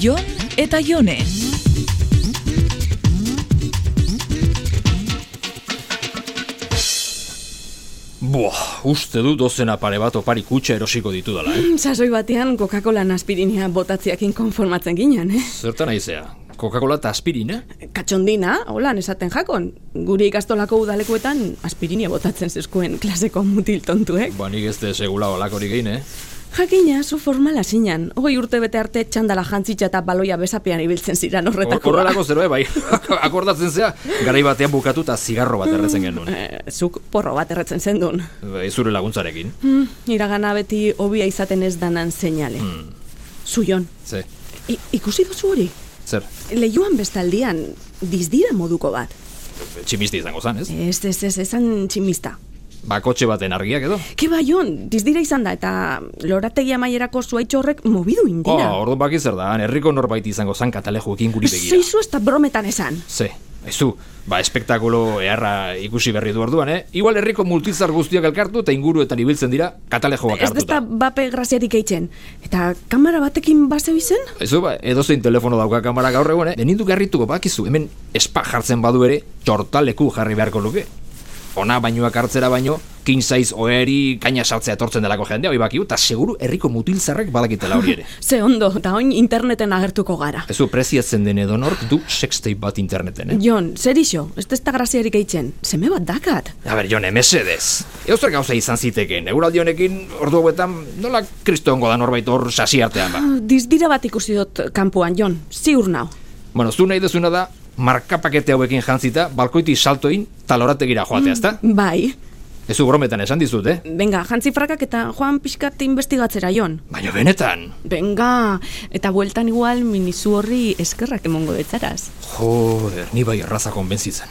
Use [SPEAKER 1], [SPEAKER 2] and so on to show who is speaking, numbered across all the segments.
[SPEAKER 1] Jon eta Jone.
[SPEAKER 2] Buah, uste du dozena pare bat opari kutxa erosiko ditudala, eh?
[SPEAKER 3] Sasoi batean Coca-Cola aspirinia botatziakin konformatzen ginen, eh?
[SPEAKER 2] Zertan aizea? Coca-Cola eta aspirina?
[SPEAKER 3] Katxondina, holan esaten jakon. Guri ikastolako udalekuetan aspirinia botatzen zeskuen klaseko mutil tontuek.
[SPEAKER 2] Ba, nik ez de segula olakorik egin, eh?
[SPEAKER 3] Jakina, zu formala zinan. Hogei urte bete arte txandala jantzitxa eta baloia besapean ibiltzen ziran horretako.
[SPEAKER 2] Hor- Oh, Horrelako zerbait, bai. Akordatzen zea, garai batean bukatu eta zigarro bat erretzen genuen.
[SPEAKER 3] Eh, zuk porro bat erretzen zendun.
[SPEAKER 2] Bai, zure laguntzarekin.
[SPEAKER 3] Hmm, iragana beti hobia izaten ez danan seinale. Zuion,
[SPEAKER 2] Ze,
[SPEAKER 3] i- ikusi duzu hori?
[SPEAKER 2] zer,
[SPEAKER 3] Leioan bestaldian, dizdira moduko bat.
[SPEAKER 2] tximisti izango zan, ez?
[SPEAKER 3] Ez, ez, ez, ezan tximista.
[SPEAKER 2] Bakotxe baten argiak edo?
[SPEAKER 3] Ke baion, dizdira izan da, eta lorategi amaierako zuaitxo horrek mobidu
[SPEAKER 2] Oh,
[SPEAKER 3] indira.
[SPEAKER 2] orduan baki zer da, han herriko norbait izango zan katalejuekin guri begira.
[SPEAKER 3] Zeizu ez da brometan esan.
[SPEAKER 2] Ze, aizu, ba, espektakulo eharra ikusi berri du orduan, eh? Igual herriko multizar guztiak elkartu eta inguruetan ibiltzen dira katalejoak
[SPEAKER 3] Ez da
[SPEAKER 2] hartuta.
[SPEAKER 3] bape graziarik eitzen. Eta kamera batekin base bizen?
[SPEAKER 2] Aizu, ba, edozein telefono dauka kamara gaur egun, eh? Benindu garrituko, bakizu, hemen espa jartzen badu ere, txortaleku jarri beharko luke. Ona bainoak hartzera baino, king size oeri kaina sartzea etortzen delako jendea, hoi bakiu, eta seguru herriko mutilzarrek badakitela hori ere.
[SPEAKER 3] Ze ondo, eta oin interneten agertuko gara.
[SPEAKER 2] Aizu, preziatzen den edonork du sextape bat interneten, eh?
[SPEAKER 3] Jon, zer iso? Ez da ez da graziarik eitzen. Zeme bat dakat.
[SPEAKER 2] A ber, jone, mesedez. Eozer gauza izan ziteken, euraldi honekin ordu hauetan nola kristongo da norbait hor sasi artean ba.
[SPEAKER 3] Ah, Dizdira bat ikusi dut kanpoan, Jon, ziur nau.
[SPEAKER 2] Bueno, zu nahi dezuna da, markapakete hauekin jantzita, balkoiti saltoin talorategira joatea, ezta?
[SPEAKER 3] Bai,
[SPEAKER 2] Ez zu brometan esan dizut, eh?
[SPEAKER 3] benga, jantzi frakak eta joan pixkat investigatzera, Jon.
[SPEAKER 2] Baina benetan.
[SPEAKER 3] Benga, eta bueltan igual minizu horri eskerrak emongo betzaraz.
[SPEAKER 2] Joder, ni bai erraza konbentzitzen.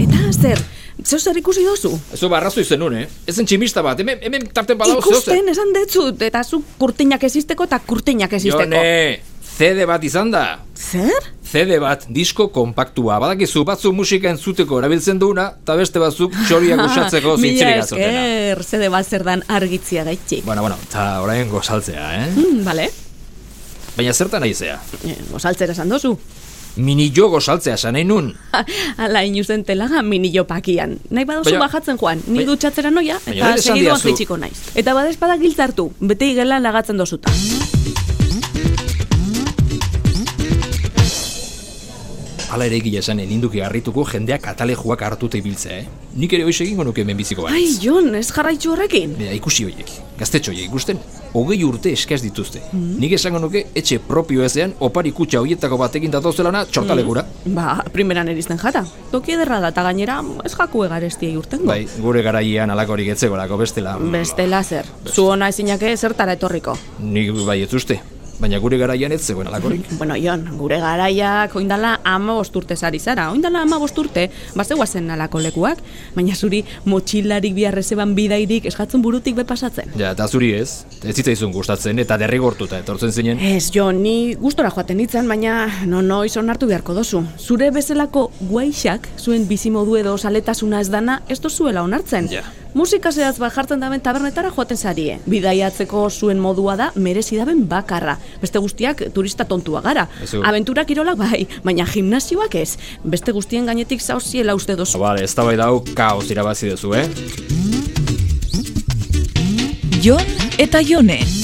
[SPEAKER 3] Eta zer, zeu zer ikusi dozu?
[SPEAKER 2] Ez zu barrazu izen nun, eh? Ezen tximista bat, hemen, hemen tarten badago
[SPEAKER 3] Ikusten esan detzut, eta zu kurtinak ezisteko eta kurtinak ezisteko.
[SPEAKER 2] Jone, CD bat izan da.
[SPEAKER 3] Zer?
[SPEAKER 2] CD bat, disko kompaktua. Badakizu, batzu musika entzuteko erabiltzen duguna, eta beste batzuk txoriak usatzeko zintzirik atzotena.
[SPEAKER 3] Mila esker, zede bat zer dan argitzia gaitxik.
[SPEAKER 2] Bueno, bueno, eta orain gozaltzea, eh?
[SPEAKER 3] Mm, bale,
[SPEAKER 2] Baina zertan aizea?
[SPEAKER 3] Eh, gozaltzera esan dozu.
[SPEAKER 2] Mini jo gozaltzea, esan nahi nun.
[SPEAKER 3] Ha, Ala inuzen telaga minillo pakian. Nahi baduzu
[SPEAKER 2] Baina-
[SPEAKER 3] bajatzen joan, ni
[SPEAKER 2] Baina-
[SPEAKER 3] dutxatzera noia,
[SPEAKER 2] Baina
[SPEAKER 3] eta
[SPEAKER 2] lehen esan
[SPEAKER 3] segiduan
[SPEAKER 2] didazu-
[SPEAKER 3] jaitsiko naiz. Eta badespada giltzartu, bete igelan lagatzen dozuta.
[SPEAKER 2] Hala ere egile esan ninduki harrituko jendeak atalejuak hartuta ibiltzea, eh? Nik ere hoiz egingo nuke hemen biziko
[SPEAKER 3] Ai,
[SPEAKER 2] banaiz.
[SPEAKER 3] Jon, ez jarraitzu horrekin.
[SPEAKER 2] Bera, ikusi hoiek, gaztetxo hoiek ikusten, hogei urte eskaz dituzte.
[SPEAKER 3] Mm.
[SPEAKER 2] Nik esango nuke etxe propio ezean opari kutxa hoietako batekin datozelana txortalegura.
[SPEAKER 3] Ba, primeran erizten jata. Toki ederra da, eta gainera ez jaku egarestiei urtengo.
[SPEAKER 2] Bai, gure garaian alakorik etzegolako bestela.
[SPEAKER 3] Bestela zer, zu ona ezinake zertara etorriko.
[SPEAKER 2] Nik bai ez uste, baina gure garaian ez zegoen alakorik.
[SPEAKER 3] Bueno, Jon, gure garaiak oindala ama bosturte zari zara. Oindala ama bosturte, bazeuazen alako lekuak, baina zuri motxilarik biharrezeban bidairik eskatzen burutik bepasatzen.
[SPEAKER 2] Ja, eta zuri ez, ez zitzaizun gustatzen eta derrigortuta etortzen zinen.
[SPEAKER 3] Ez, Jon, ni gustora joaten nintzen, baina no noiz onartu beharko dozu. Zure bezalako guaixak, zuen bizimodu edo saletasuna ez dana, ez dozuela onartzen.
[SPEAKER 2] Ja.
[SPEAKER 3] Musika zehaz bat jartzen daben tabernetara joaten zarie. Bidaiatzeko zuen modua da merezi daben bakarra. Beste guztiak turista tontua gara.
[SPEAKER 2] Aizu.
[SPEAKER 3] Abentura kirolak bai, baina gimnasioak ez. Beste guztien gainetik zauziela uste dozu.
[SPEAKER 2] Bale, ez da bai dau kaos irabazi duzu, eh?
[SPEAKER 1] Jon eta Jone.